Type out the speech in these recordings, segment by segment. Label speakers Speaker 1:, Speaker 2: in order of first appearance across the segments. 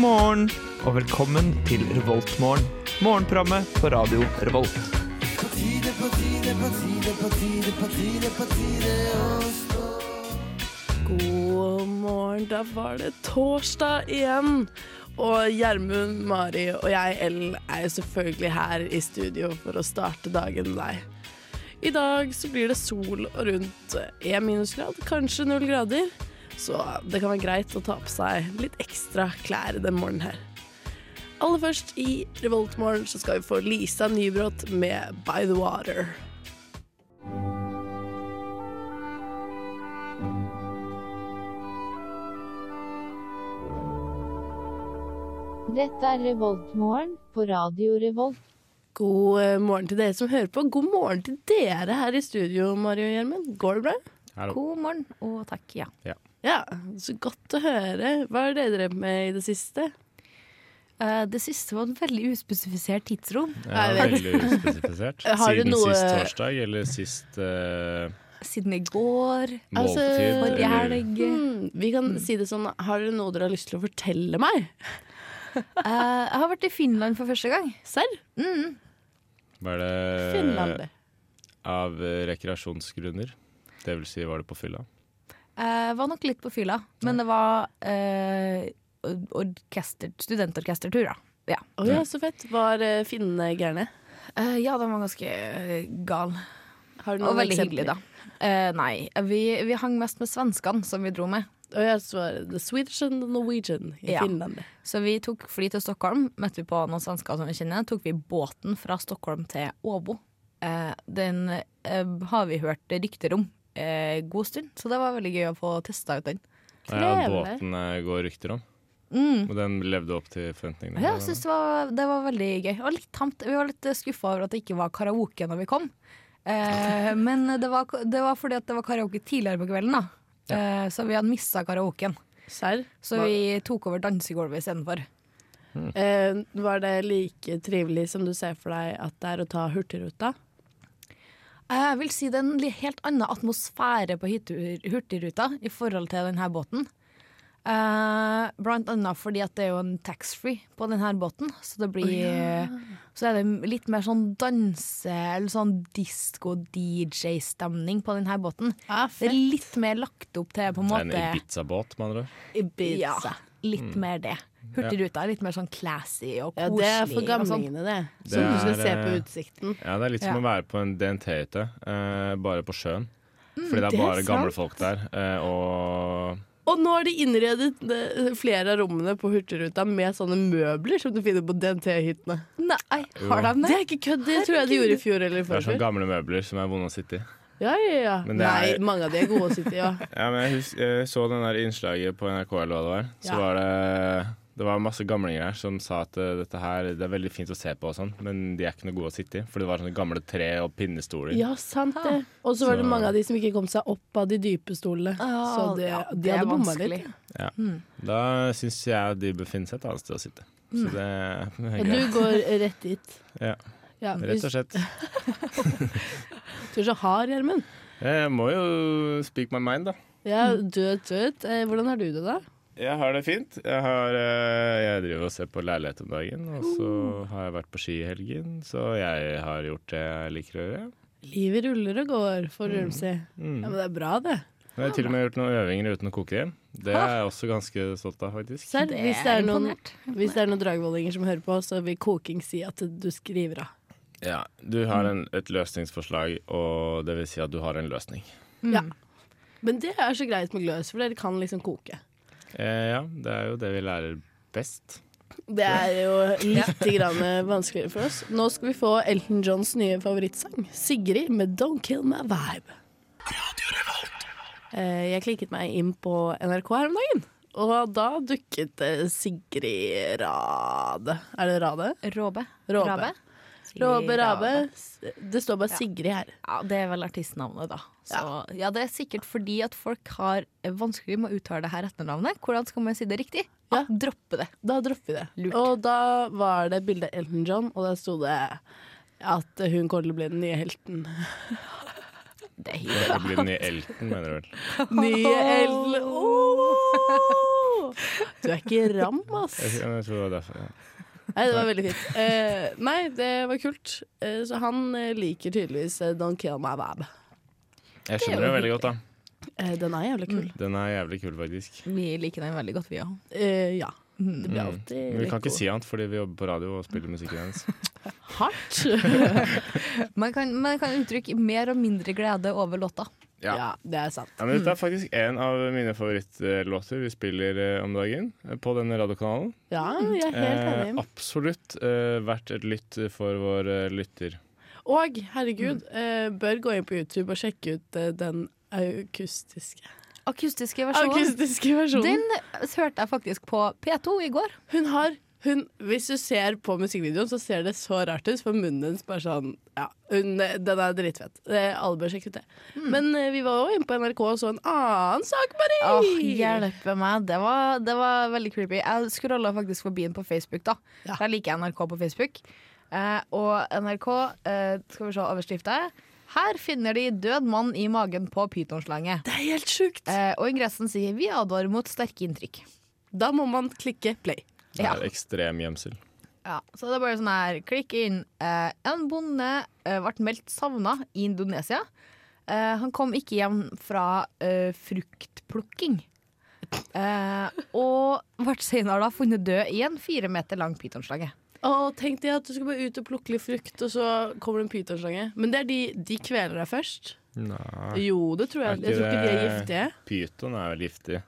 Speaker 1: morgen og velkommen til Revoltmorgen. Morgenprogrammet på radio Revolt.
Speaker 2: God morgen, da var det torsdag igjen. Og Gjermund, Mari og jeg, Ellen, er jo selvfølgelig her i studio for å starte dagen med deg. I dag så blir det sol og rundt én minusgrad, kanskje null grader. Så det kan være greit å ta på seg litt ekstra klær den morgenen her. Aller først i Revoltmorgen så skal vi få Lisa Nybråt med By The Water.
Speaker 3: Dette er Revoltmorgen på Radio Revolt.
Speaker 2: God eh, morgen til dere som hører på. God morgen til dere her i studio, Mari og Gjermund. Går det bra?
Speaker 4: Hallo.
Speaker 5: God morgen og takk, ja.
Speaker 2: Ja, så godt å høre. Hva har dere drevet med i det siste?
Speaker 5: Eh, det siste var et veldig uspesifisert tidsrom.
Speaker 2: Nei,
Speaker 4: Ja,
Speaker 2: jeg
Speaker 4: veldig uspesifisert.
Speaker 2: Har du
Speaker 4: Siden
Speaker 2: noe-
Speaker 4: sist torsdag, eller sist eh,
Speaker 5: Siden i går,
Speaker 2: Altså,
Speaker 4: måltid.
Speaker 2: forrige
Speaker 5: forrige
Speaker 4: eller,
Speaker 5: helg.
Speaker 2: Hmm, vi kan si det sånn, har dere noe dere har lyst til å fortelle meg?
Speaker 5: Eh, jeg har vært i Finland for første gang.
Speaker 2: Serr?
Speaker 4: var det
Speaker 2: Finland.
Speaker 4: av eh, rekreasjonsgrunner? Det vil si, var det på fylla?
Speaker 5: Jeg Eh, var nok litt på fylla, men det var eh, orkester, studentorkestertur, da. Ja.
Speaker 2: Å ja, så fett. Var eh, finnene gærne?
Speaker 5: Eh, ja, den var ganske eh, gal.
Speaker 2: Har du
Speaker 5: Og
Speaker 2: noen
Speaker 5: veldig
Speaker 2: eksempler?
Speaker 5: hyggelig, da. Eh, nei, vi, vi hang mest med svenskene som vi dro med.
Speaker 2: Å ja, så var det the Swedish and the Norwegian i
Speaker 5: Ja.
Speaker 2: Finland.
Speaker 5: Så vi tok fly til Stockholm, møtte vi på noen svensker som vi kjenner, tok vi båten fra Stockholm til Åbo. Eh, den eh, har vi hørt rykter om eh, god stund, så det var veldig gøy å få testa ut den.
Speaker 4: Ja,
Speaker 2: Trevlig. Mm.
Speaker 4: båten eh, går rykter om. Og den levde opp til forventningene.
Speaker 5: Ja, jeg synes det, var, det var veldig gøy. Og litt tamt. Vi var litt skuffa over at det ikke var karaoke når vi kom. Eh, men det var, det var fordi at det var karaoke tidligere på kvelden, da. Eh, så vi hadde missa karaoken.
Speaker 2: Serr?
Speaker 5: Så
Speaker 2: Hva-
Speaker 5: vi tok over dansegulvet istedenfor.
Speaker 2: Eh, var det like trivelig som du ser for deg at det er å ta Hurtigruta?
Speaker 5: Jeg vil si det er en li- helt annen atmosfære på hytur- Hurtigruta i forhold til denne båten. Eh, blant annet fordi at det er jo en taxfree på denne båten, så det blir Så er det litt mer sånn danse- eller sånn disko-DJ-stemning på denne båten.
Speaker 2: Ja,
Speaker 5: Det er litt mer lagt opp til på en
Speaker 4: det var en
Speaker 5: måte
Speaker 4: Ibiza-båt, med andre ord.
Speaker 2: Ibiza.
Speaker 5: Ja, litt mer det. Hurtigruta er litt mer sånn classy og
Speaker 2: Ja,
Speaker 5: koselig.
Speaker 2: det er for
Speaker 5: og sånn.
Speaker 2: gamlingene, det.
Speaker 4: Det
Speaker 2: Altså, Som du skal
Speaker 4: er,
Speaker 2: se på
Speaker 4: eh,
Speaker 2: utsikten.
Speaker 4: Ja, det er litt som
Speaker 5: Ja.
Speaker 4: å være på en DNT-hytte, eh, bare på sjøen. Fordi det er
Speaker 2: Mm, det er
Speaker 4: bare gamle
Speaker 2: sant.
Speaker 4: folk der. eh, og
Speaker 2: Og nå har de innredet eh, flere av rommene på Hurtigruta med sånne møbler som du finner på DNT-hyttene.
Speaker 5: Nei, har de
Speaker 2: Det er ikke kødd, det tror jeg de gjorde i fjor eller i
Speaker 4: det er sånne
Speaker 2: forfjor.
Speaker 4: gamle møbler som er vonde å sitte i.
Speaker 2: Ja, ja, ja.
Speaker 4: Men det
Speaker 2: Nei,
Speaker 4: er-
Speaker 2: mange av de er gode å sitte i, ja.
Speaker 4: Ja, men jeg, hus- jeg så den der innslaget på NRK, eller hva det var.
Speaker 2: Ja.
Speaker 4: Så var det Det var masse gamlinger her som sa at eh, dette her det er veldig fint å se på, og sånn, men de er ikke noe gode å sitte i. For det var sånne gamle tre og pinnestoler.
Speaker 2: Ja, sant det. Og så var det
Speaker 4: Så-
Speaker 2: mange av de som ikke kom seg opp av de dype stolene. Så
Speaker 5: Ah,
Speaker 2: det,
Speaker 5: ja,
Speaker 2: de
Speaker 5: er
Speaker 2: hadde bomma
Speaker 5: vanskelig.
Speaker 2: litt.
Speaker 4: Da syns jeg de bør finne seg et annet sted å sitte. Så det er
Speaker 2: Mm. Du
Speaker 4: greit.
Speaker 2: går rett dit.
Speaker 4: Ja,
Speaker 2: Ja,
Speaker 4: rett og
Speaker 2: hvis
Speaker 4: slett.
Speaker 2: du er så hard, Gjermund.
Speaker 4: Jeg må jo speak my mind, da.
Speaker 2: Ja, død, død. Eh, Hvordan har du det, da?
Speaker 4: Jeg har det fint. Jeg, har, eh, jeg driver og ser på leilighet om dagen. Og så
Speaker 2: Oh.
Speaker 4: har jeg vært på ski i helgen, så jeg har gjort det jeg liker å gjøre.
Speaker 2: Livet ruller og går, får du si. Ja, men det er bra, det.
Speaker 4: Jeg har til og med gjort noen øvinger uten å koke det. Det er jeg også ganske stolt av, faktisk.
Speaker 2: Selv,
Speaker 5: Det
Speaker 2: hvis, det er
Speaker 5: er
Speaker 2: noen,
Speaker 5: imponert.
Speaker 2: hvis det er noen dragvollinger som hører på, så vil koking si at du skriver av.
Speaker 4: Ja, Du har en, et løsningsforslag, og det vil si at du har en løsning.
Speaker 2: Ja. Men det er så greit med gløs, for dere kan liksom koke.
Speaker 4: Eh, ja, det er jo det vi lærer best.
Speaker 2: Det er jo litt grann vanskeligere for oss. Nå skal vi få Elton Johns nye favorittsang, 'Sigrid' med 'Don't Kill My Vibe'. Eh, Jeg klikket meg inn på NRK her om dagen, og da dukket eh, Sigrid Rade Er det Rade?
Speaker 5: Råbe.
Speaker 2: Råbe.
Speaker 5: Rabe.
Speaker 2: Råbe Rabe. Det står bare Sigrid her.
Speaker 5: Ja, det er vel artistnavnet, da. Så, ja. det er sikkert fordi at folk har vanskelig med å uttale det her etternavnet. Hvordan skal man si det riktig?
Speaker 2: Ja.
Speaker 5: Ja. Droppe det.
Speaker 2: Da dropper vi det.
Speaker 5: Lurt.
Speaker 2: Og da var det bilde av Elton John, og der sto det at hun kommer til å bli den nye helten.
Speaker 5: Det er
Speaker 4: Det blir den nye Elton, mener du vel.
Speaker 2: Nye Elton! Du er ikke ram, ass.
Speaker 4: Jeg, jeg tror det var derfor. Ja.
Speaker 2: Nei, det var veldig fint. Eh, nei, det var kult. Eh, så han eh, liker tydeligvis eh, Don't Kill My Bab.
Speaker 4: Jeg skjønner det jo veldig godt, da.
Speaker 2: Eh, den er jævlig kul.
Speaker 4: Den er jævlig kul, faktisk.
Speaker 5: Vi liker den veldig godt, vi òg.
Speaker 2: Eh, ja. Det blir
Speaker 4: Mm.
Speaker 2: alltid
Speaker 4: Men vi
Speaker 2: litt
Speaker 4: kan ikke
Speaker 2: god.
Speaker 4: si annet, fordi vi jobber på radio og spiller musikken hennes.
Speaker 2: hardt.
Speaker 5: Man kan, man kan uttrykke mer og mindre glede over låta.
Speaker 4: Ja.
Speaker 2: ja. det er sant.
Speaker 4: Ja, men dette er faktisk en av mine favorittlåter vi spiller eh, om dagen eh, på denne radiokanalen.
Speaker 2: Ja, jeg er helt
Speaker 4: Eh,
Speaker 2: enig.
Speaker 4: absolutt eh, verdt et lytt for vår eh, lytter.
Speaker 2: Og herregud, eh, bør gå inn på YouTube og sjekke ut eh, den akustiske
Speaker 5: Akustiske versjonen.
Speaker 2: Akustiske versjonen.
Speaker 5: Den hørte jeg faktisk på P2 i går.
Speaker 2: Hun har hun, Hvis du ser på musikkvideoen, så ser det så rart ut, for munnen hennes bare sånn Ja, hun, den er dritfett. Eh, Alle bør sjekke ut det. Men eh, vi var jo inne på NRK og så en annen sak, Marie.
Speaker 5: Åh, hjelpe meg. Det var, det var veldig creepy. Jeg scrolla faktisk forbi den på Facebook, da.
Speaker 2: Ja.
Speaker 5: Der liker jeg NRK på Facebook. Eh, og NRK, eh, skal vi se overskrifta. Her finner de død mann i magen på pytonslange.
Speaker 2: Det er helt sjukt.
Speaker 5: Eh, og ingressen sier 'Vi advarer mot sterke inntrykk'.
Speaker 2: Da må man klikke play.
Speaker 4: Det
Speaker 5: Ja.
Speaker 4: er ekstrem gjemsel.
Speaker 5: Ja, så det er bare sånn her, klikk inn. Eh, en bonde eh, ble meldt savna i Indonesia. Eh, han kom ikke hjem fra eh, fruktplukking. Eh, og ble senere da funnet død i en fire meter lang pytonslange.
Speaker 2: Å, tenk deg at du skal bare ut og plukke litt frukt, og så kommer det en pytonslange. Men det er de, de kveler deg først.
Speaker 4: Nei.
Speaker 2: Jo, det tror jeg.
Speaker 4: Er
Speaker 2: Jeg tror ikke de er
Speaker 4: ikke det-
Speaker 2: giftige.
Speaker 4: Pyton er vel giftig.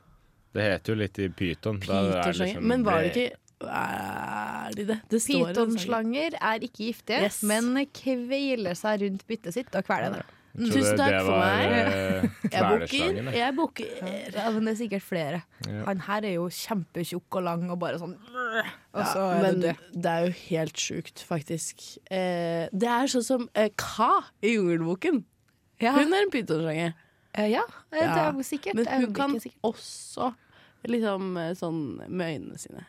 Speaker 4: Det heter jo litt i pyton. da det er
Speaker 2: Pytonslange.
Speaker 4: liksom-
Speaker 2: Men var det ikke Er de det? Det står i den sangen.
Speaker 5: Pytonslanger er ikke giftige,
Speaker 2: Yes.
Speaker 5: men kveiler seg rundt byttet sitt og kveler det.
Speaker 4: Så det-
Speaker 2: Tusen takk
Speaker 4: det
Speaker 2: for
Speaker 4: var,
Speaker 2: meg.
Speaker 4: eh,
Speaker 2: Jeg
Speaker 4: kvelersangen,
Speaker 2: booker.
Speaker 4: det.
Speaker 2: Jeg eh, booker.
Speaker 5: Eh, Ja, men det er sikkert flere. Han her er jo kjempetjukk og lang og bare sånn Og så er
Speaker 2: Men
Speaker 5: du død.
Speaker 2: det er jo helt sjukt, faktisk. Eh, det er sånn som eh, Ka i Jungelboken.
Speaker 5: Ja,
Speaker 2: Hun er en pytonslange.
Speaker 5: eh, ja, eh, det
Speaker 2: Ja.
Speaker 5: er jo sikkert.
Speaker 2: Men
Speaker 5: Jeg
Speaker 2: hun
Speaker 5: husker
Speaker 2: kan
Speaker 5: ikke sikkert.
Speaker 2: også liksom eh, sånn med øynene sine.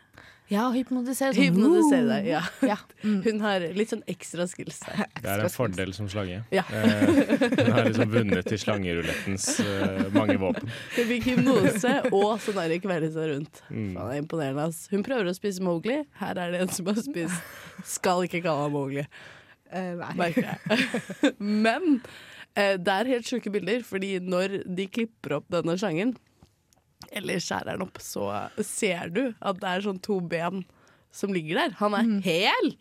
Speaker 5: Ja, hypnotisere sånn.
Speaker 2: Hypnotisere deg. Ja.
Speaker 5: Ja. Mm.
Speaker 2: Hun har litt sånn ekstra skills der.
Speaker 4: Det er en fordel som slange.
Speaker 2: Ja.
Speaker 4: Eh, hun har liksom vunnet i slangerulettens eh, mange våpen.
Speaker 2: Hun fikk hypnose og sånn der kvele seg rundt.
Speaker 4: Mm.
Speaker 2: Faen, det er imponerende. Ass. Hun prøver å spise Mowgli. Her er det en som har spist Skal ikke kalle ham Mowgli,
Speaker 5: eh,
Speaker 2: merker jeg. Men eh, det er helt sjuke bilder, fordi når de klipper opp denne slangen, eller skjærer den opp, så ser du at det er sånn to ben som ligger der. Han er hel!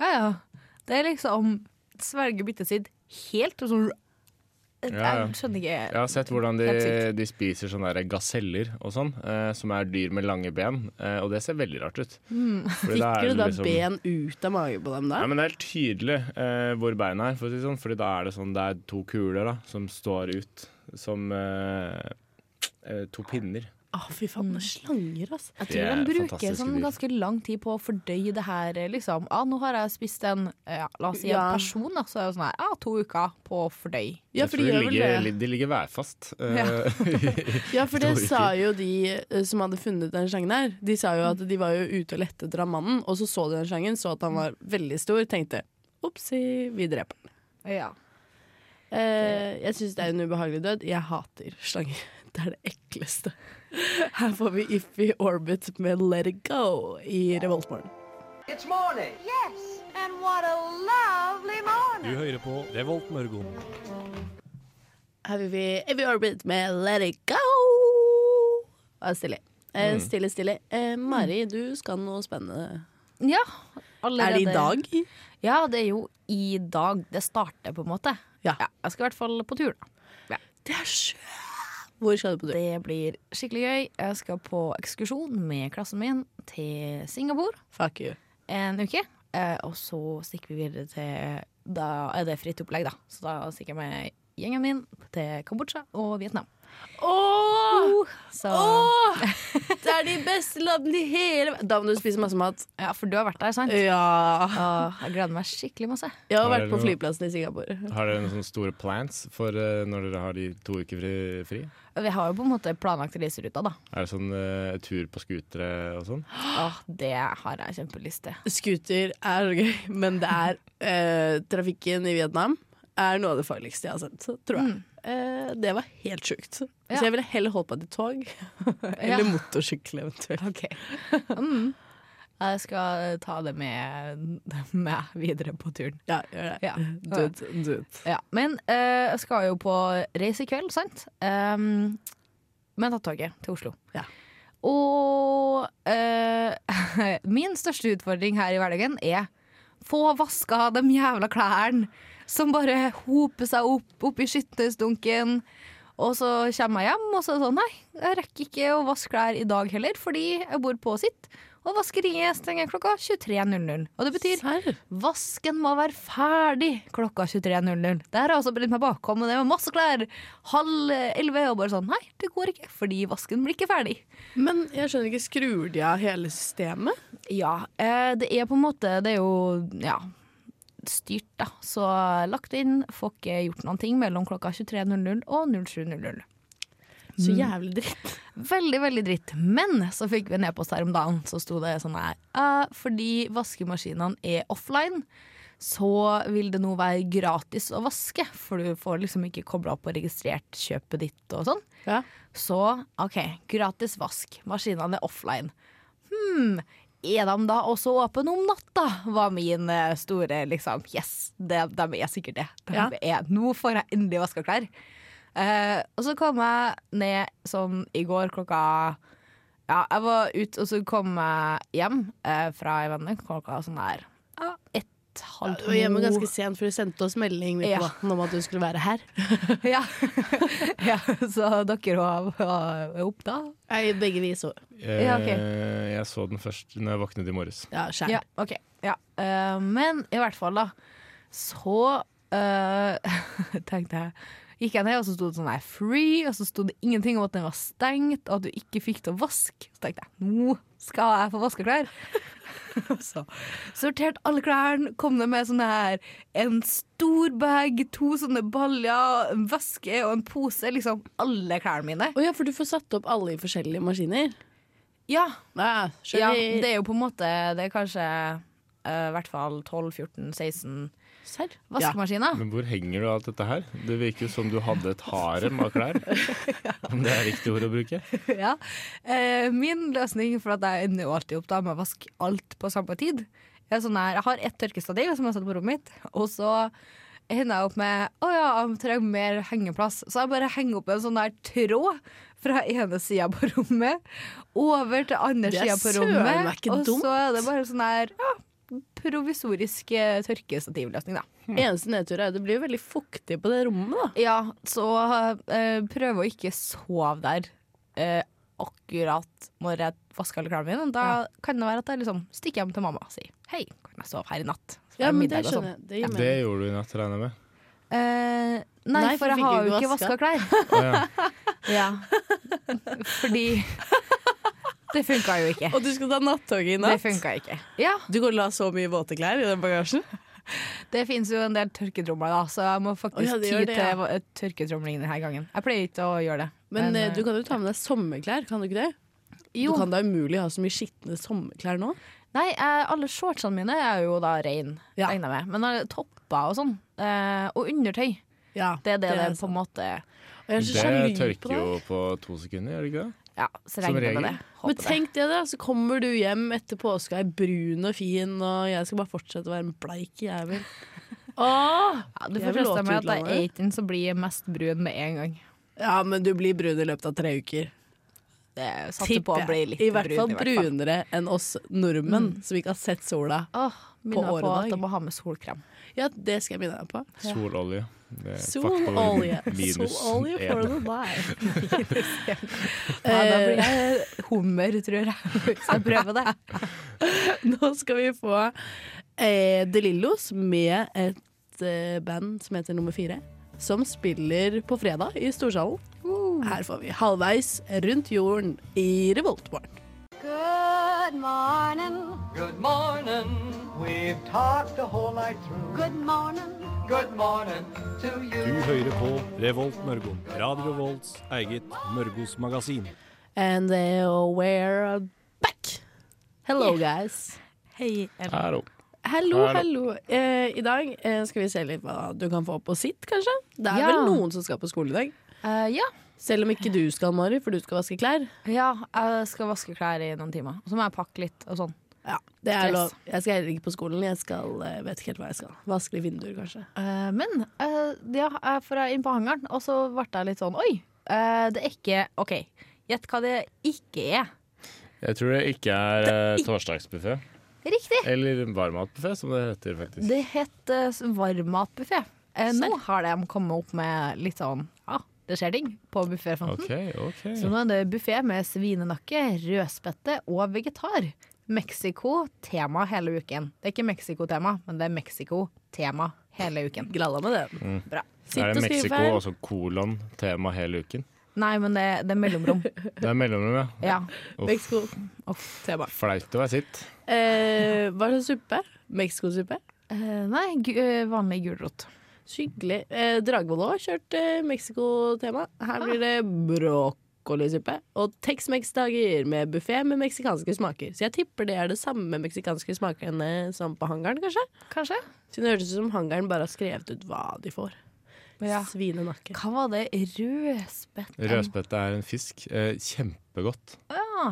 Speaker 5: Ja, ja. Det er liksom sverge byttet sitt helt og sånn Jeg
Speaker 4: Ja, ja.
Speaker 5: skjønner ikke
Speaker 4: Jeg har sett hvordan
Speaker 5: Helt
Speaker 4: de,
Speaker 5: sykt.
Speaker 4: de spiser sånne der gaseller og sånn, eh, som er dyr med lange ben, eh, og det ser veldig rart ut. Fordi da er
Speaker 2: Stikker Hmm.
Speaker 4: det
Speaker 2: du da
Speaker 4: liksom-
Speaker 2: ben ut av magen på dem da?
Speaker 4: Ja, men det er helt tydelig eh, hvor beina er, for å si det sånn. Fordi da er det sånn, det er to kuler da, som står ut som eh, eh, to pinner.
Speaker 2: Å, fy faen, slanger, altså.
Speaker 5: Jeg
Speaker 4: Det
Speaker 5: tror
Speaker 4: er
Speaker 5: de bruker
Speaker 4: fantastiske
Speaker 5: sånn
Speaker 4: dyr.
Speaker 5: ganske lang tid på å fordøye det her, liksom. Ah, nå har jeg spist en eh, ja, La oss si en
Speaker 2: Ja.
Speaker 5: person, da. Så er det sånn her ah, to uker på å fordøye.
Speaker 2: Ja,
Speaker 4: Jeg
Speaker 2: for de
Speaker 4: tror de
Speaker 2: gjør vel
Speaker 4: ligger,
Speaker 2: det.
Speaker 4: li- de ligger værfast. eh,
Speaker 2: Ja, for det
Speaker 4: Forstår ikke.
Speaker 2: sa jo de eh, som hadde funnet den slangen her. De sa jo at de var jo ute og lette etter han mannen, og så så de den slangen, så at han var veldig stor, tenkte opsi, vi dreper den.
Speaker 5: Ja.
Speaker 2: Eh, jeg syns det er en ubehagelig død. Jeg hater slanger. Det er det ekleste. Her får vi Iffy Orbit med Let It Go i Revoltmorgen.
Speaker 6: It's morning.
Speaker 7: Yes, and what a lovely morning.
Speaker 8: Du hører på Revolt Mørgon.
Speaker 2: Her vil vi Evy Orbit med Let It Go. Vær stille. Eh,
Speaker 8: Mm.
Speaker 2: stille, stille. Eh, Mari, du skal noe spennende.
Speaker 5: ja.
Speaker 2: Er det i dag?
Speaker 5: Ja, det er jo i dag det starter, på en måte.
Speaker 2: Ja.
Speaker 5: jeg skal i hvert fall på tur, da.
Speaker 2: Det er sjø... Hvor skal du på tur?
Speaker 5: Det blir skikkelig gøy. Jeg skal på ekskursjon med klassen min til Singapore
Speaker 2: Fuck you.
Speaker 5: en uke. Eh, og så stikker vi videre til Da er det fritt opplegg, da. Så da stikker jeg med gjengen min til Kambodsja og Vietnam.
Speaker 2: Åh!
Speaker 5: Så
Speaker 2: Åh! Det er de beste landene i hele verden. Da må du spise masse mat.
Speaker 5: Ja, for du har vært der, sant?
Speaker 2: Ja.
Speaker 5: Åh, jeg gleder meg skikkelig masse.
Speaker 2: Jeg har
Speaker 4: Her er
Speaker 2: vært på
Speaker 4: det noe.
Speaker 2: flyplassen i Singapore.
Speaker 4: har dere noen sånne store plans for eh, når dere har de to uker fri? fri?
Speaker 5: Vi har jo på en måte planlagt reiseruta, da.
Speaker 4: Er det sånn eh, tur på skutere og sånn?
Speaker 5: Åh, det har jeg kjempelyst til.
Speaker 2: Scooter er så gøy, men det er eh, Trafikken i Vietnam er noe av det farligste jeg har sett, tror jeg. Eh, det var helt sjukt.
Speaker 5: Mm. Ja.
Speaker 2: Så jeg ville heller holdt meg til tog. Eller motorsykkel eventuelt.
Speaker 5: Ok. Mm. Jeg skal ta det med, med videre på turen.
Speaker 2: Ja, gjør det.
Speaker 5: Ja.
Speaker 2: Do it, do it.
Speaker 5: Ja, men eh, jeg skal jo på reise i kveld, sant? Um, med natttoget til Oslo.
Speaker 2: Ja.
Speaker 5: Og eh, min største utfordring her i hverdagen er få vaska de jævla klærne som bare hoper seg opp oppi skyttersdunken. Og så kommer jeg hjem, og så er det sånn Nei, jeg rekker ikke å vaske klær i dag heller, fordi jeg bor på sitt. Og vaskeriet stenger klokka 23.00. Og det betyr
Speaker 2: Serr?
Speaker 5: Vasken må være ferdig klokka 23.00. Der har jeg også brent meg bakom, og det var masse klær. Halv elleve, og bare sånn Nei, det går ikke, fordi vasken blir ikke ferdig.
Speaker 2: Men jeg skjønner ikke, skrur de av hele systemet?
Speaker 5: Ja, eh, det er på en måte Det er jo, ja Styrt, da. Så lagt inn. Får ikke gjort noen ting mellom klokka 23.00 og 07.00.
Speaker 2: Så jævlig dritt.
Speaker 5: Mm. Veldig, veldig dritt. Men så fikk vi en e-post her om dagen, så sto det sånn her «Eh, Fordi vaskemaskinene er offline, så vil det nå være gratis å vaske. For du får liksom ikke kobla opp og registrert kjøpet ditt og sånn.
Speaker 2: Ja.
Speaker 5: Så OK, gratis vask. Maskinene er offline. Hm, er de da også åpne om natta? Var min eh, store liksom Yes, de, de er sikkert det. De
Speaker 2: Ja.
Speaker 5: er, nå får jeg endelig vaska klær. Eh, og så kom jeg ned sånn i går klokka Ja, jeg var ute, og så kom jeg hjem eh, fra ei venninne klokka sånn der ja, ett, halv
Speaker 2: Du
Speaker 5: to.
Speaker 2: var hjemme ganske sent, for du sendte oss melding midt på
Speaker 5: Ja.
Speaker 2: natten om at du skulle være her.
Speaker 5: ja. ja, så dere var, var opp da?
Speaker 2: Nei, begge vi så.
Speaker 4: Jeg,
Speaker 5: Ja, ok.
Speaker 4: Eh, jeg så den først når jeg våknet i morges.
Speaker 2: Ja, skjær.
Speaker 5: Ja, ok. Ja. Eh, men i hvert fall, da, så eh, tenkte jeg Gikk jeg ned, og så sto det sånn her free, og så sto det ingenting om at den var stengt, og at du ikke fikk til å vaske. Så tenkte jeg nå skal jeg få vaske klær. Og så sorterte alle klærne, kom det med sånne her en stor bag, to sånne baljer, en veske og en pose. Liksom alle klærne mine.
Speaker 2: Å ja, for du får satt opp alle i forskjellige maskiner?
Speaker 5: Ja,
Speaker 2: Ja,
Speaker 5: ja,
Speaker 2: skjønner.
Speaker 5: det er jo på en måte Det er kanskje eh, i hvert fall 12-14-16
Speaker 2: Serr? Ja.
Speaker 5: vaskemaskiner.
Speaker 4: Men hvor henger du alt dette her? Det virker jo som du hadde et harem av klær. Om det er riktig ord å bruke.
Speaker 5: Ja. Eh, min løsning for at jeg ender jo alltid opp da med å vaske alt på samme tid, er sånn her Jeg har ett tørkestativ som jeg setter på rommet mitt, og så hender jeg opp med Å ja, jeg trenger mer hengeplass. Så jeg bare henger opp en sånn der tråd fra ene sida på rommet over til andre
Speaker 2: Det er
Speaker 5: sida på
Speaker 2: søren meg
Speaker 5: rommet,
Speaker 2: ikke
Speaker 5: og
Speaker 2: dumt.
Speaker 5: så er det bare sånn her ja, provisorisk eh, tørkestativløsning, da.
Speaker 2: Eneste nedtur er jo det blir jo veldig fuktig på det rommet, da.
Speaker 5: Ja, så eh, prøv å ikke sove der eh, akkurat når jeg vasker alle klærne mine. Da kan det være at jeg liksom stikker hjem til mamma og sier hei, kan jeg sove her i natt? Så er
Speaker 2: Ja, men det
Speaker 5: middag og sånn.
Speaker 2: skjønner jeg. Det gir
Speaker 4: Det
Speaker 2: mening.
Speaker 4: gjorde du i natt, regner jeg med.
Speaker 5: Eh, nei,
Speaker 2: Nei, for
Speaker 5: for jeg
Speaker 2: fikk
Speaker 5: har
Speaker 2: du
Speaker 5: jo ikke
Speaker 2: ikke
Speaker 5: vaska klær.
Speaker 4: Å, ja.
Speaker 5: Fordi det funka jo ikke.
Speaker 2: Og du skal ta nattoget i
Speaker 5: Det
Speaker 2: natt?
Speaker 5: funka ikke. Ja,
Speaker 2: Du går og la så mye våte klær i den bagasjen?
Speaker 5: det fins jo en del tørketromler, da, så jeg må
Speaker 2: Å,
Speaker 5: faktisk
Speaker 2: ja, det
Speaker 5: ty
Speaker 2: gjør det, ja.
Speaker 5: til eh, tørketromling denne gangen. Jeg pleier ikke å gjøre det.
Speaker 2: Men eh, du
Speaker 5: eh,
Speaker 2: kan jo ta med deg sommerklær, kan du ikke det?
Speaker 5: jo.
Speaker 2: Du kan da umulig ha så mye skitne sommerklær nå?
Speaker 5: Nei, eh, alle shortsene mine er jo da rein,
Speaker 2: Ja.
Speaker 5: regner jeg med. Men eh, topper og sånn. Eh, og undertøy.
Speaker 2: Ja,
Speaker 5: Det er det det, på
Speaker 2: sant.
Speaker 5: en måte
Speaker 2: Og jeg er så
Speaker 4: Det
Speaker 2: sjalu på
Speaker 4: tørker
Speaker 2: deg.
Speaker 4: jo på to sekunder, gjør det ikke det?
Speaker 5: Ja, så
Speaker 4: Som
Speaker 5: regner jeg med det.
Speaker 4: regel.
Speaker 5: Håper
Speaker 2: Men tenk det, da. Så kommer du hjem etter påska er brun og fin, og jeg skal bare fortsette å være en bleik jævel. Åh!
Speaker 5: det. Ja, du
Speaker 2: jeg
Speaker 5: får
Speaker 2: vil låte
Speaker 5: trøste meg at jeg
Speaker 2: utlandet.
Speaker 5: er 18, så blir jeg mest brun med en gang.
Speaker 2: Ja, men du blir brun i løpet av tre uker.
Speaker 5: Det satte på å bli litt
Speaker 2: I hvert fall
Speaker 5: brun.
Speaker 2: brunere enn oss nordmenn
Speaker 5: Mm.
Speaker 2: som ikke har sett sola.
Speaker 5: Åh, minner
Speaker 2: På
Speaker 5: på, på
Speaker 2: året
Speaker 5: at
Speaker 2: dag.
Speaker 5: jeg må ha med solkrem.
Speaker 2: Ja, det skal jeg minne deg på.
Speaker 4: Sololje. Det er
Speaker 2: Sololje.
Speaker 4: faktor minus
Speaker 2: Sololje for
Speaker 4: en.
Speaker 2: the life. Eh,
Speaker 5: Ja, da blir jeg hummer, tror jeg, hvis jeg prøver det.
Speaker 2: Nå skal vi få eh, De Lillos med et eh, band som heter Nummer Fire. Som spiller på fredag i Storsalen.
Speaker 7: Uh.
Speaker 2: Her får vi halvveis rundt jorden i Revoltmorgen.
Speaker 7: Good morning.
Speaker 6: Good morning. We've talked the whole night through.
Speaker 7: Good morning.
Speaker 6: Good morning to
Speaker 8: Du
Speaker 6: you.
Speaker 8: hører på Revolt Mørgo. Radio Volts eget Mørgos magasin.
Speaker 2: And they we're back. Hello, guys.
Speaker 5: Hei,
Speaker 4: Hallo.
Speaker 2: Hallo,
Speaker 4: Hallo.
Speaker 2: hallo. Eh, I dag eh, skal vi se litt hva du kan få på sitt, kanskje. Det er
Speaker 5: Ja.
Speaker 2: vel noen som skal på skole i dag.
Speaker 5: Eh, ja.
Speaker 2: Selv om ikke du skal, Mari, for du skal vaske klær.
Speaker 5: ja, jeg skal vaske klær i noen timer. Og så må jeg pakke litt og sånn.
Speaker 2: Ja, det er
Speaker 5: Stress.
Speaker 2: lov. Jeg skal heller ikke på skolen. Jeg skal, eh, vet ikke helt hva jeg skal. Vaske litt vinduer, kanskje.
Speaker 5: Eh, men eh, ja, jeg- for jeg er inne på hangaren, og så ble jeg litt sånn Oi! eh, det er ikke OK. Gjett hva det ikke er.
Speaker 4: Jeg tror det ikke er uh, torsdagsbuffé.
Speaker 5: Riktig!
Speaker 4: Eller varmmatbuffé, som det heter faktisk.
Speaker 5: Det het uh, varmmatbuffé. Eh, nå har de kommet opp med litt sånn Ja, det skjer ting på bufféfronten.
Speaker 4: OK, OK.
Speaker 5: Så nå er det buffé med svinenakke, rødspette og vegetar. Mexico-tema hele uken. Det er ikke Mexico-tema, men det er Mexico-tema hele uken.
Speaker 2: Gralla med det.
Speaker 5: Bra.
Speaker 2: Sitt
Speaker 4: er
Speaker 2: og
Speaker 4: det
Speaker 2: skriv
Speaker 4: Mexico
Speaker 2: feil.
Speaker 4: og så kolon tema hele uken?
Speaker 5: Nei, men det, det er mellomrom.
Speaker 4: Det er mellomrom, ja.
Speaker 5: Ja.
Speaker 2: Mexico.
Speaker 5: Uff, tema.
Speaker 4: Flaut å være sitt.
Speaker 2: Eh, hva slags suppe? Mexicosuppe?
Speaker 5: Eh, nei, gu eh, vanlig gulrot.
Speaker 2: Så hyggelig. Eh, Dragvoll har kjørt eh, Mexico-tema. Her blir det brokkolisuppe og Tex-Mex-dager med buffé med meksikanske smaker. Så jeg tipper det er det samme meksikanske smakene som på hangaren, kanskje.
Speaker 5: Kanskje?
Speaker 2: Siden det hørtes ut som hangaren bare har skrevet ut hva de får.
Speaker 5: Ja.
Speaker 2: Svinenakke.
Speaker 5: Hva var det? Rødspett?
Speaker 4: Rødspette er en fisk. Eh, kjempegodt.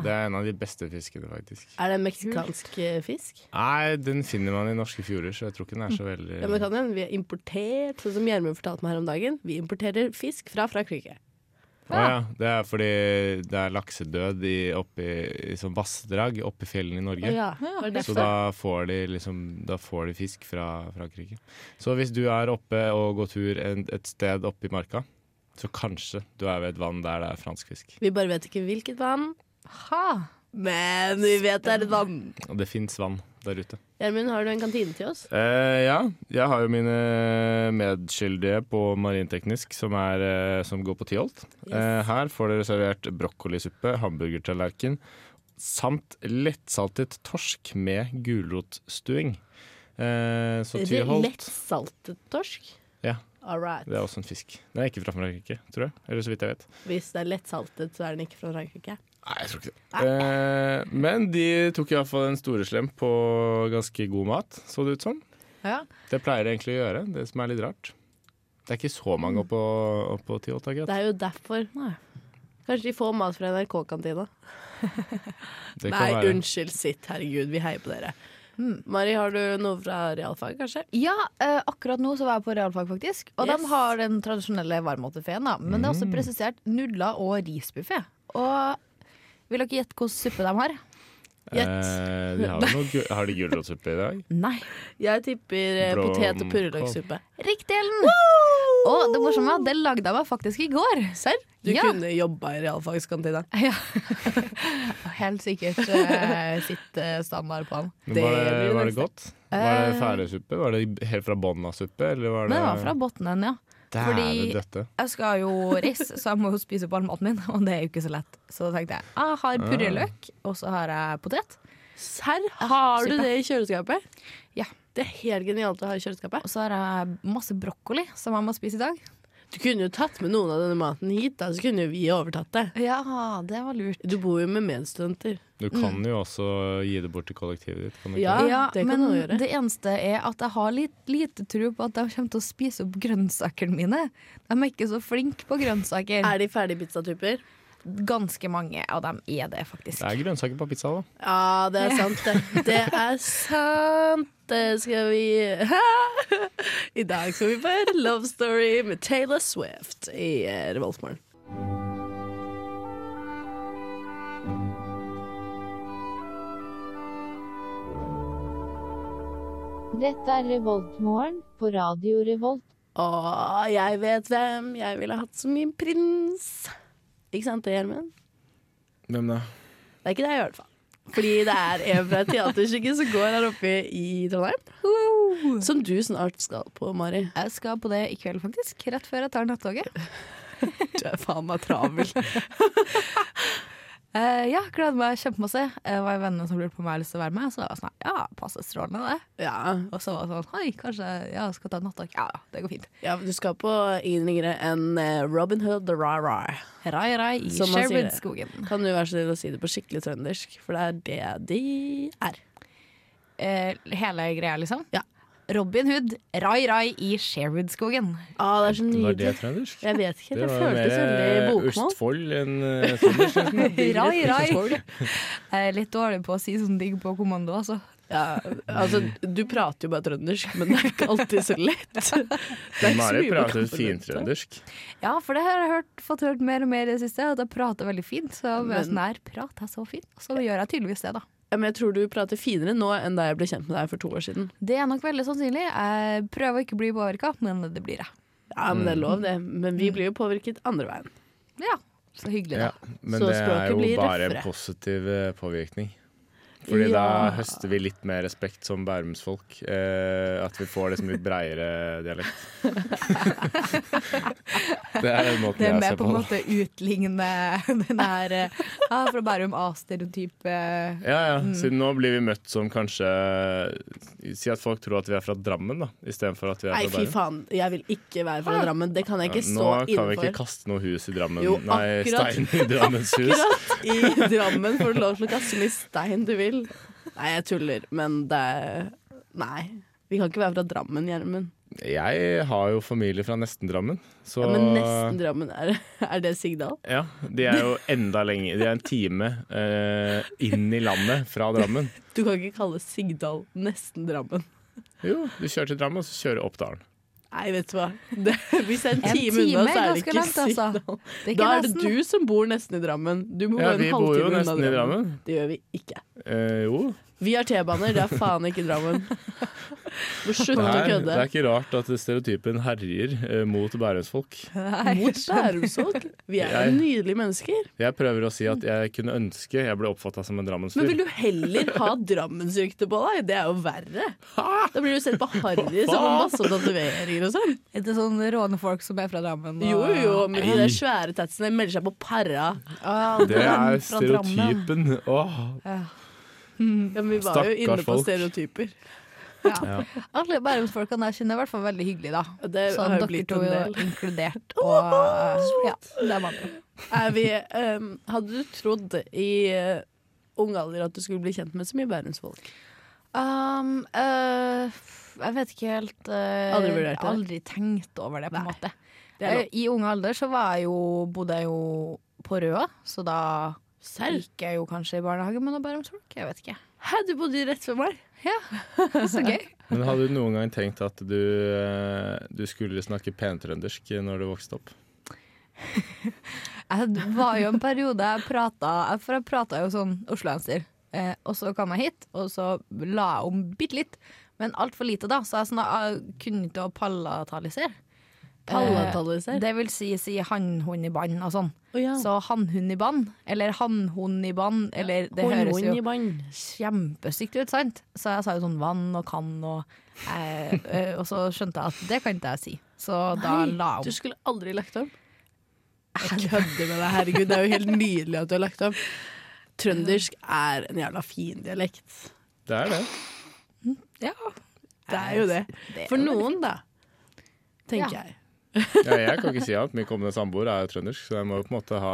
Speaker 4: Det er en av de beste fiskene, faktisk.
Speaker 2: Er det meksikansk eh, fisk?
Speaker 4: Nei, den finner man i norske fjorder, så jeg tror ikke den er så veldig
Speaker 2: Ja, men det kan hende vi har importert, sånn som Gjermund fortalte meg her om dagen. Vi importerer fisk fra Frankrike.
Speaker 4: Å ja, Det er fordi det er laksedød i, oppe i, i sånn vassdrag oppe i fjellene i Norge.
Speaker 2: Ja, var det
Speaker 4: Så
Speaker 2: derfor?
Speaker 4: da får, de liksom, da får de fisk fra Frankrike. Så hvis du er oppe og går tur en, et sted oppe i marka, så kanskje du er ved et vann der det er fransk fisk.
Speaker 2: Vi bare vet ikke hvilket vann,
Speaker 5: Ha!
Speaker 2: men vi vet det er et vann.
Speaker 4: Og det fins vann der ute.
Speaker 2: Gjermund, har du en kantine til oss?
Speaker 4: Eh, ja, jeg har jo mine medskyldige på marinteknisk som, er, eh, som går på Tyholt. Eh, her får dere servert brokkolisuppe, hamburgertallerken samt lettsaltet torsk med gulrotstuing. Eh, så
Speaker 2: Lett
Speaker 4: Tyholt
Speaker 2: saltet torsk?
Speaker 4: Ja.
Speaker 2: All right.
Speaker 4: Det er også en fisk. Den er ikke fra Frankrike, tror jeg. Eller så vidt jeg vet.
Speaker 2: Hvis det er lett saltet, så er den ikke fra Frankrike.
Speaker 4: Nei, jeg tror ikke det. Eh, men de tok iallfall en storeslem på ganske god mat, så det ut som.
Speaker 5: Ja.
Speaker 4: Det pleier de egentlig å gjøre, det som er litt rart. Det er ikke så mange oppå, oppå Tyholt, akkurat.
Speaker 2: Det er jo derfor.
Speaker 5: Nei.
Speaker 2: Kanskje de får mat fra NRK-kantina. Nei,
Speaker 4: Det kan være.
Speaker 2: unnskyld, sitt. Herregud, vi heier på dere. Hmm. Mari, har du noe fra realfag, kanskje?
Speaker 5: Ja, eh, akkurat nå så var jeg på realfag, faktisk. Og
Speaker 2: Yes.
Speaker 5: de har den tradisjonelle varmmatbuffeen, da. Men det er også presisert nudler og risbuffé. Og vil dere gjette hvilken suppe de har?
Speaker 2: Gjett.
Speaker 4: Eh, de har, jo noe, gu- har de gulrotsuppe i dag?
Speaker 5: Nei.
Speaker 2: Jeg tipper eh,
Speaker 4: Blå-
Speaker 2: potet- og purreløksuppe.
Speaker 5: Riktig, Ellen! Og det morsomme er at det lagde jeg meg faktisk i går.
Speaker 2: Serr? Du
Speaker 5: Ja.
Speaker 2: kunne jobba i realfagskantina.
Speaker 5: Ja. Helt sikkert eh, sitt eh, standard på den.
Speaker 4: Men
Speaker 2: Det
Speaker 4: var det,
Speaker 2: blir
Speaker 4: var
Speaker 2: det
Speaker 4: det godt? Var det ferdigsuppe? Var det helt fra bånn av suppe? Eller var det,
Speaker 5: Men det var fra bunnen, ja. fordi-
Speaker 4: Dæven døtte.
Speaker 5: Jeg skal jo reise, så jeg må jo spise opp all maten min, og det er jo ikke så lett. Så da tenkte jeg jeg har purreløk, og så har jeg potet.
Speaker 2: Serr? Har du
Speaker 5: suppe.
Speaker 2: det i kjøleskapet?
Speaker 5: Ja.
Speaker 2: Ah, Det er helt genialt å ha i kjøleskapet.
Speaker 5: Og så har jeg masse brokkoli som jeg må spise i dag.
Speaker 2: Du kunne jo tatt med noen av denne maten hit, da, så kunne jo vi overtatt det.
Speaker 5: Ja, det var lurt.
Speaker 2: Du bor jo med medstudenter.
Speaker 4: Du kan jo også gi det bort til kollektivet ditt. Kan du ikke?
Speaker 2: Ja,
Speaker 5: Ja,
Speaker 2: det kan
Speaker 5: men
Speaker 2: du gjøre.
Speaker 5: det eneste er at jeg har litt lite tro på at de kommer til å spise opp grønnsakene mine. De er ikke så flinke på grønnsaker.
Speaker 2: Er de ferdige pizzatyper?
Speaker 5: Ganske mange av dem er det, faktisk.
Speaker 4: Det er grønnsaker på pizza, da.
Speaker 2: Ja, det er sant, det. Det er sant. Det skal vi I dag skal vi på en love story med Taylor Swift i eh, Revoltmorgen.
Speaker 3: Dette er Revoltmorgen på Radio Revolt.
Speaker 2: Å, jeg vet hvem jeg ville hatt som min prins. Ikke sant det, Gjermund?
Speaker 4: Hvem da?
Speaker 2: Det er ikke det, i hvert fall. Fordi det er en fra et teaterstykke som går her oppe i Trondheim. Som du snart skal på, Mari.
Speaker 5: Jeg skal på det i kveld, faktisk. Rett før jeg tar nattoget.
Speaker 2: Du er faen meg travel.
Speaker 5: Eh, ja, gleder meg kjempemasse. Det var en venn som lurte på om jeg hadde lyst til å være med. Så jeg var sånn, ja, passer strålende det.
Speaker 2: Ja,
Speaker 5: Og så var det sånn, oi, kanskje ja, skal ta nattdag. Ja, ja, det går fint.
Speaker 2: Ja, du skal på yngre enn eh, Robin Hood the Ra-Ra.
Speaker 5: Rai, rai i
Speaker 2: Som man sier det.
Speaker 5: Sherwoodskogen.
Speaker 2: Kan du være så snill å si det på skikkelig trøndersk, for det er det de er.
Speaker 5: eh, hele greia, liksom?
Speaker 2: Ja.
Speaker 5: Robin Hood, Rai Rai i Sherwoodskogen.
Speaker 2: Ah, det er så
Speaker 4: Var det
Speaker 2: nydelig.
Speaker 4: trøndersk?
Speaker 2: Jeg vet ikke,
Speaker 4: Det
Speaker 2: det,
Speaker 4: var jo
Speaker 2: føltes
Speaker 4: mer eh,
Speaker 2: veldig bokmål.
Speaker 4: Østfold enn eh, trøndersk. nesten.
Speaker 5: Rai Rai. Jeg er litt dårlig på å si sånne ting på kommando, altså.
Speaker 2: Ja, altså, du prater jo bare trøndersk, men det er ikke alltid så lett. Det er ikke så
Speaker 4: Mari
Speaker 2: mye man kan
Speaker 4: prater
Speaker 2: forvente.
Speaker 4: fintrøndersk.
Speaker 5: Ja, for det har jeg hørt, fått hørt mer og mer i det siste, at jeg prater veldig fint. Så jeg
Speaker 2: Men-
Speaker 5: er sånn her, prater jeg så fint? Og så gjør jeg tydeligvis det, da.
Speaker 2: Ja, men jeg tror du prater finere nå enn da jeg ble kjent med deg for to år siden.
Speaker 5: Det er nok veldig sannsynlig. Jeg prøver å ikke bli påvirka, men det blir jeg.
Speaker 2: Ja, men det
Speaker 4: Mm.
Speaker 2: er lov, det. Men vi blir jo påvirket andre veien.
Speaker 5: Ja, så hyggelig,
Speaker 4: Ja,
Speaker 5: da.
Speaker 4: men
Speaker 2: Så
Speaker 4: det
Speaker 2: språket
Speaker 4: er jo
Speaker 2: blir
Speaker 4: bare en
Speaker 2: røffere.
Speaker 4: positiv eh, påvirkning. Fordi da
Speaker 2: Ja.
Speaker 4: høster vi litt mer respekt som bærumsfolk. Eh, at vi får liksom litt breiere dialekt. det er den måten
Speaker 5: Det er
Speaker 4: jeg
Speaker 5: med
Speaker 4: ser på.
Speaker 5: på en
Speaker 4: da.
Speaker 5: måte utligne den her eh, ja, fra Bærum eh, A-stereotype
Speaker 4: Ja, ja.
Speaker 2: Mm.
Speaker 4: Siden nå blir vi møtt som kanskje Si at folk tror at vi er fra Drammen, da. Istedenfor at vi er
Speaker 2: Nei,
Speaker 4: fra
Speaker 2: fy
Speaker 4: Bærum.
Speaker 2: faen, jeg vil ikke være fra Drammen. Det kan jeg ikke
Speaker 4: Nå
Speaker 2: stå
Speaker 4: kan vi ikke
Speaker 2: innenfor.
Speaker 4: kaste noe hus i Drammen.
Speaker 2: Jo,
Speaker 4: Nei,
Speaker 2: akkurat.
Speaker 4: stein i Drammens hus.
Speaker 2: Akkurat i Drammen får du lov til å kaste så mye stein du vil. Nei, jeg tuller, men det er Nei. Vi kan ikke være fra Drammen, Gjermund.
Speaker 4: Jeg har jo familie fra nesten Drammen, så
Speaker 2: Ja, men nesten Drammen, er, er det signal?
Speaker 4: Ja, de er jo enda lenger. De er en time eh, inn i landet fra Drammen.
Speaker 2: Du kan ikke kalle Sigdal nesten Drammen.
Speaker 4: Jo, du kjører til Drammen, og så kjører du opp dalen.
Speaker 2: Nei, vet du hva. Det, hvis det er en
Speaker 5: En
Speaker 2: time unna,
Speaker 5: time er
Speaker 2: så er det
Speaker 5: ganske
Speaker 2: ikke
Speaker 5: langt, altså.
Speaker 2: Sigdal.
Speaker 5: Det er
Speaker 2: Da
Speaker 5: ikke
Speaker 2: er det
Speaker 5: nesten.
Speaker 2: du som bor nesten i Drammen. Du må gå
Speaker 4: Ja,
Speaker 2: en
Speaker 4: vi bor
Speaker 2: halvtime
Speaker 4: jo
Speaker 2: unna
Speaker 4: nesten i
Speaker 2: Drammen.
Speaker 4: Drammen.
Speaker 2: Det gjør vi ikke.
Speaker 4: Eh, jo,
Speaker 2: Vi har T-baner, det er faen ikke Drammen. Må
Speaker 4: det
Speaker 2: slutte å
Speaker 4: er, det
Speaker 2: kødde.
Speaker 4: er ikke rart at stereotypen herjer eh, mot Bærumsfolk.
Speaker 2: Mot Bærumsfolk. Vi er
Speaker 4: Jeg-
Speaker 2: jo nydelige mennesker.
Speaker 4: Jeg prøver å si at jeg kunne ønske jeg ble oppfatta som en
Speaker 2: Men
Speaker 4: drammensfyr.
Speaker 2: vil du heller ha drammensrykte på deg? Det er jo verre. Da blir du sett på harry som har masse tatoveringer og sånn.
Speaker 5: Er det sånn råne folk som er fra Drammen?
Speaker 2: Jo, jo, med de der svære tatsene melder seg på para.
Speaker 4: Det er
Speaker 5: Fra Drammen.
Speaker 4: stereotypen. Åh,
Speaker 2: Ja, men vi var jo inne
Speaker 4: Stakkars
Speaker 2: på
Speaker 4: folk.
Speaker 2: stereotyper.
Speaker 5: Alle Bærumsfolkene jeg kjenner, er i hvert fall veldig hyggelige, da.
Speaker 2: Og det
Speaker 5: Sånn
Speaker 2: har jo
Speaker 5: dere
Speaker 2: blitt
Speaker 5: to
Speaker 2: en
Speaker 5: jo
Speaker 2: del.
Speaker 5: inkludert. Og eh, ja, det er vanlig.
Speaker 2: Er vi, ehm, hadde du trodd i eh, ung alder at du skulle bli kjent med så mye bærumsfolk?
Speaker 5: Um, øh, jeg vet ikke helt øh,
Speaker 2: Aldri vurdert det?
Speaker 5: Aldri tenkt over det, på en måte.
Speaker 2: Det er lov.
Speaker 5: Eh, I ung alder så var jeg jo, bodde jeg jo på Røa, så da
Speaker 2: Serr?
Speaker 5: gikk jeg jo kanskje i barnehage med noen bærumsfolk. Jeg vet ikke.
Speaker 2: Hæ, du bodde rett ved meg?
Speaker 5: Så gøy.
Speaker 4: Men hadde du noen gang tenkt at du, eh, du skulle snakke pentrøndersk når du vokste opp?
Speaker 5: Jeg var jo en periode jeg prata For jeg prata jo sånn osloenser. Eh, og så kom jeg hit, og så la jeg om bitte litt. Men altfor lite, da, så jeg, sånn, jeg kunne ikke å palatalisere.
Speaker 2: Palatalisere?
Speaker 5: Eh, Det vil si si hannhund i bånd og sånn.
Speaker 2: Å ja.
Speaker 5: Så hannhund i bånd, eller hannhund i bånd, eller det høres jo kjempestygt ut, sant? Så jeg sa jo sånn vann og kan og eh, eh, Og så skjønte jeg at det kan ikke jeg si. Så da la
Speaker 2: Du
Speaker 5: jeg om.
Speaker 2: skulle aldri lagt om. Jeg kødder med deg, herregud. Det er jo helt nydelig at du har lagt om. Trøndersk er en jævla fin dialekt.
Speaker 4: Det er det.
Speaker 5: Ja,
Speaker 2: Det er jo det.
Speaker 5: det er
Speaker 2: For
Speaker 5: jo
Speaker 2: noen, da. Tenker
Speaker 5: Ja.
Speaker 2: jeg.
Speaker 4: Ja, jeg kan ikke si annet. Min kommende samboer er jo trøndersk, så jeg må jo på en måte ha,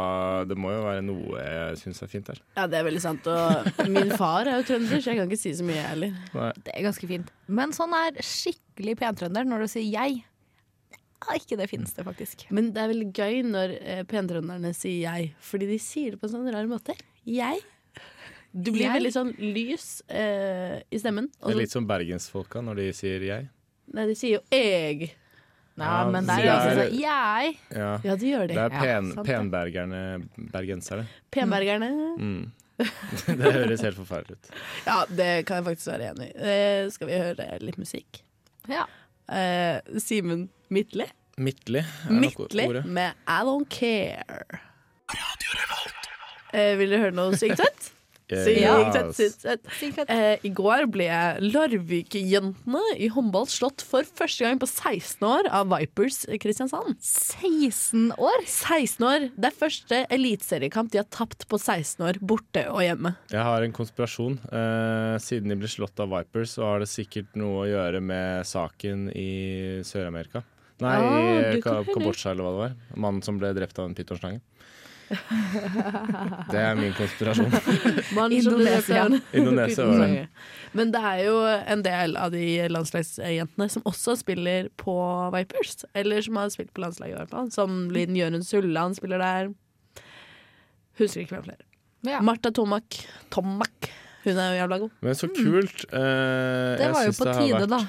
Speaker 4: det må jo være noe jeg syns er fint der.
Speaker 2: Ja, det er veldig sant. Og min far er jo trønder, så jeg kan ikke si så mye, jeg heller.
Speaker 4: Nei.
Speaker 5: Det er ganske fint. Men sånn er skikkelig pentrønder når du sier jeg. Ja, Ikke det finnes det, faktisk.
Speaker 2: Men det er veldig gøy når eh, pentrønderne sier 'jeg', fordi de sier det på en sånn rar måte. Jeg. Du blir
Speaker 5: Jeg.
Speaker 2: veldig sånn lys eh, i stemmen.
Speaker 4: Det
Speaker 2: Og
Speaker 5: Altså-
Speaker 4: er
Speaker 2: så,
Speaker 4: litt som bergensfolka når de sier 'jeg'.
Speaker 2: nei, de sier jo 'eg'.
Speaker 5: Nei,
Speaker 4: Ja,
Speaker 5: men det
Speaker 4: så
Speaker 5: er jo
Speaker 4: det
Speaker 5: sånn
Speaker 4: er-
Speaker 5: jeg.
Speaker 4: Ja.
Speaker 2: Ja, de gjør det.
Speaker 4: Det er
Speaker 5: Ja,
Speaker 4: pen,
Speaker 5: sant det.
Speaker 4: penbergerne bergensere.
Speaker 2: Penbergerne.
Speaker 4: Mm. Det høres helt forferdelig ut.
Speaker 2: Ja, det kan jeg faktisk være enig i. Eh, skal vi høre litt musikk?
Speaker 5: Ja.
Speaker 2: Eh, Simen Midtly.
Speaker 4: Midtlig er nok
Speaker 2: Midtly
Speaker 4: ordet.
Speaker 2: med 'I Don't Care'. Eh, vil du høre noe sykt søtt?
Speaker 4: Eh,
Speaker 2: Sykt søtt,
Speaker 4: altså.
Speaker 2: sykt søtt. Eh, I går ble Larvik-jentene i håndball slått for første gang på 16 år av Vipers Kristiansand.
Speaker 5: 16 år?
Speaker 2: 16 år! Det er første eliteseriekamp de har tapt på 16 år, borte og hjemme.
Speaker 4: Jeg har en konspirasjon. Eh, siden de ble slått av Vipers, så har det sikkert noe å gjøre med saken i Sør-Amerika. Nei,
Speaker 2: Ah,
Speaker 4: i
Speaker 2: du kan
Speaker 4: Ka-
Speaker 2: høre.
Speaker 4: Kambodsja eller hva det var. Mannen som ble drept av en pytonslange. Det er min konspirasjon.
Speaker 2: Man
Speaker 5: Indonesia.
Speaker 2: skjønner det.
Speaker 4: Indonesia var det.
Speaker 2: Men det er jo en del av de landslagsjentene som også spiller på Vipers. Eller som har spilt på landslaget, i hvert fall. Som Linn Jørund Sulland spiller der. Husker ikke hvem flere.
Speaker 5: Ja.
Speaker 2: Martha Tomak. Tomak. Hun er jo jævla god.
Speaker 4: Men så kult. eh,
Speaker 5: Det
Speaker 4: jeg
Speaker 5: var jo
Speaker 4: syns
Speaker 5: på
Speaker 4: det har
Speaker 5: tide,
Speaker 4: vært-
Speaker 5: da.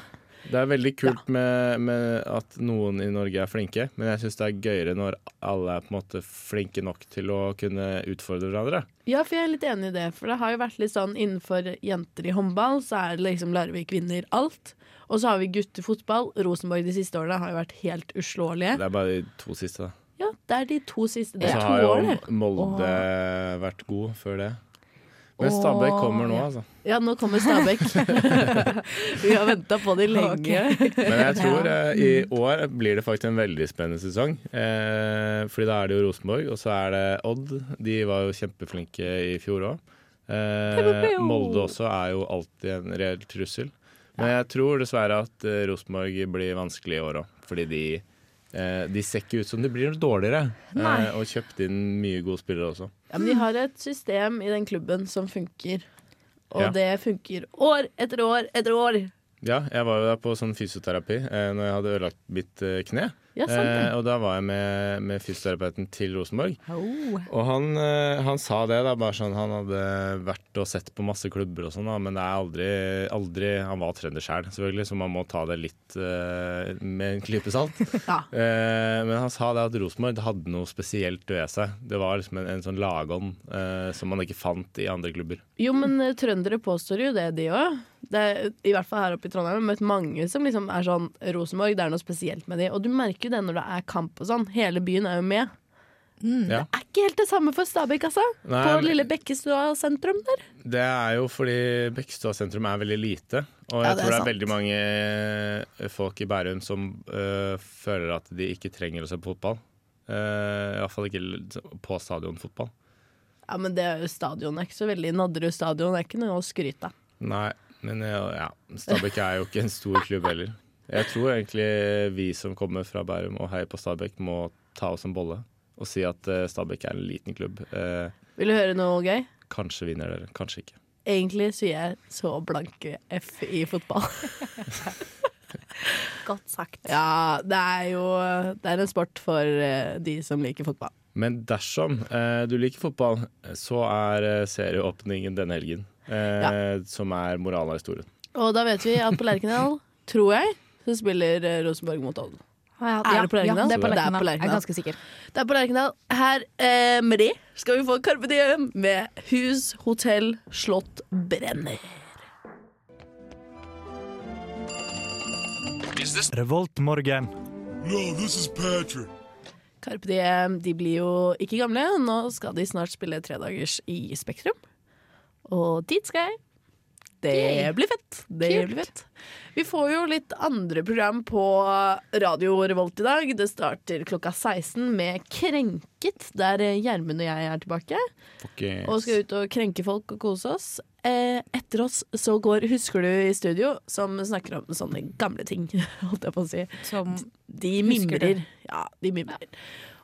Speaker 4: Det er veldig kult med, med at noen i Norge er flinke, men jeg syns det er gøyere når alle er på en måte flinke nok til å kunne utfordre hverandre.
Speaker 2: Ja, for jeg er litt enig i det. For det har jo vært litt sånn innenfor jenter i håndball, så er det liksom Larvik vinner alt. Og så har vi guttefotball. Rosenborg de siste årene har jo vært helt uslåelige.
Speaker 4: Det er bare de to siste, da.
Speaker 2: Ja, det er de to siste.
Speaker 4: Og
Speaker 2: Det
Speaker 4: så
Speaker 2: er
Speaker 4: har
Speaker 2: to år, det.
Speaker 4: jo Molde vært god før det. Men Stabæk kommer nå, altså.
Speaker 2: Ja, nå kommer Stabæk. Vi har venta på de lenge.
Speaker 4: Men jeg tror eh, i
Speaker 2: Mm.
Speaker 4: år blir det faktisk en veldig spennende sesong. Eh, fordi da er det jo Rosenborg, og så er det Odd. De var jo kjempeflinke i fjor òg. Eh, Molde også er jo alltid en reell trussel. Men jeg tror dessverre at eh, Rosenborg blir vanskelig i år òg. Fordi de, eh, de ser ikke ut som de blir noe dårligere. Eh, og kjøpt inn mye gode spillere også.
Speaker 2: Ja, men de har et system i den klubben som funker. Og
Speaker 4: Ja.
Speaker 2: det funker år etter år etter år.
Speaker 4: Ja, jeg var jo der på sånn fysioterapi eh, når jeg hadde ødelagt mitt eh, kne.
Speaker 2: Ja, sant det.
Speaker 4: Eh, og da var jeg med, med fysioterapeuten til Rosenborg.
Speaker 5: Oh.
Speaker 4: Og han, eh, han sa det, da, bare sånn han hadde vært og sett på masse klubber og sånn, da, men det er aldri, aldri Han var trønder sjæl, selvfølgelig, så man må ta det litt eh, med en klype salt.
Speaker 2: Ja.
Speaker 4: Eh, men han sa det at Rosenborg det hadde noe spesielt ved seg. Det var liksom en, en sånn lagånd eh, som man ikke fant i andre klubber.
Speaker 2: Jo, men eh, trøndere påstår jo det, de òg. I hvert fall her oppe i Trondheim. Jeg har møtt mange som liksom er sånn Rosenborg, det er noe spesielt med de. Og du merker jo det når det er kamp og sånn. Hele byen er jo med.
Speaker 4: Ja.
Speaker 2: Det er ikke helt det samme for Stabæk, altså. Mm.
Speaker 4: Nei,
Speaker 2: på
Speaker 4: men-
Speaker 2: lille Bekkestua sentrum der.
Speaker 4: Det er jo fordi Bekkestua sentrum er veldig lite. Og jeg
Speaker 2: Ja, det er
Speaker 4: tror det er
Speaker 2: sant.
Speaker 4: veldig mange folk i Bærum som øh, føler at de ikke trenger å se på fotball. Uh, Iallfall ikke l- på stadionfotball.
Speaker 2: Ja, men det er jo stadion er ikke så veldig Nadderud stadion er ikke noe å skryte av.
Speaker 4: Nei, men øh, ja, Stabæk er jo ikke en stor klubb heller. Jeg tror egentlig vi som kommer fra Bærum og heier på Stabæk, må ta oss en bolle og si at øh, Stabæk er en liten klubb. Eh,
Speaker 2: Vil du høre noe gøy?
Speaker 4: kanskje vinner dere, kanskje ikke.
Speaker 2: Egentlig sier jeg så blanke F i fotball.
Speaker 5: Godt sagt.
Speaker 2: Ja, det er jo Det er en sport for eh, de som liker fotball.
Speaker 4: Men dersom eh, du liker fotball, så er eh, serieåpningen denne helgen. Eh, Som er moralen av historien.
Speaker 2: Og da vet vi at på Lerkendal, tror jeg, så spiller eh, Rosenborg mot Odd.
Speaker 5: Ja,
Speaker 2: Er det på Lerkendal?
Speaker 5: Ja, det er på
Speaker 2: Det er på
Speaker 5: Lerkendal. Jeg
Speaker 2: Lerkendal.
Speaker 5: er ganske sikker.
Speaker 2: Det er på Lerkendal. Her eh, med det skal vi få Carpe Diem med Hus, hotell, slott, brenner.
Speaker 1: Revoltmorgen.
Speaker 2: Carpe Diem de blir jo ikke gamle, og nå skal de snart spille tredagers i Spektrum. Og dit skal jeg. Det blir fett. Det
Speaker 5: Kult.
Speaker 2: blir fett. Vi får jo litt andre program på Radio Revolt i dag. Det starter klokka 16 med Krenket, der Gjermund og jeg er tilbake. Og skal ut og krenke folk og kose oss. Eh, etter oss så går Husker du i studio, som snakker om sånne gamle ting, holdt jeg på å si.
Speaker 5: Som
Speaker 2: De
Speaker 5: Husker
Speaker 2: mimrer. Ja, de mimrer.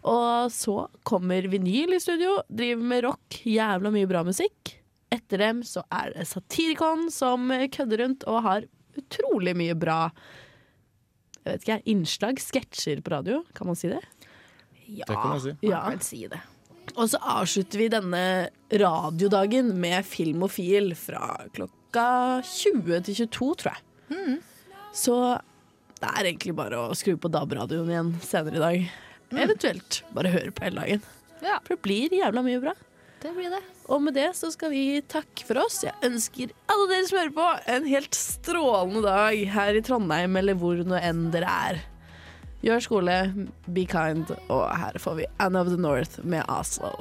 Speaker 2: Og så kommer vinyl i studio, driver med rock, jævla mye bra musikk. Etter dem så er det Satirikon som kødder rundt og har utrolig mye bra jeg vet ikke, innslag, sketsjer på radio, kan man si det?
Speaker 5: Ja,
Speaker 4: Det kan man si.
Speaker 5: ja.
Speaker 2: Ja.
Speaker 5: Vel si det.
Speaker 2: Og så avslutter vi denne radiodagen med Filmofil fra klokka 20 til 22, tror jeg. Så det er egentlig bare å skru på DAB-radioen igjen senere i dag. Eventuelt bare høre på hele dagen.
Speaker 5: Ja.
Speaker 2: For det blir jævla mye bra.
Speaker 5: Det blir det.
Speaker 2: Og med det så skal vi takke for oss. Jeg ønsker alle dere som hører på, en helt strålende dag her i Trondheim, eller hvor nå enn dere er. Gjør skole, be kind, og her får vi Anne of the North med Oslo.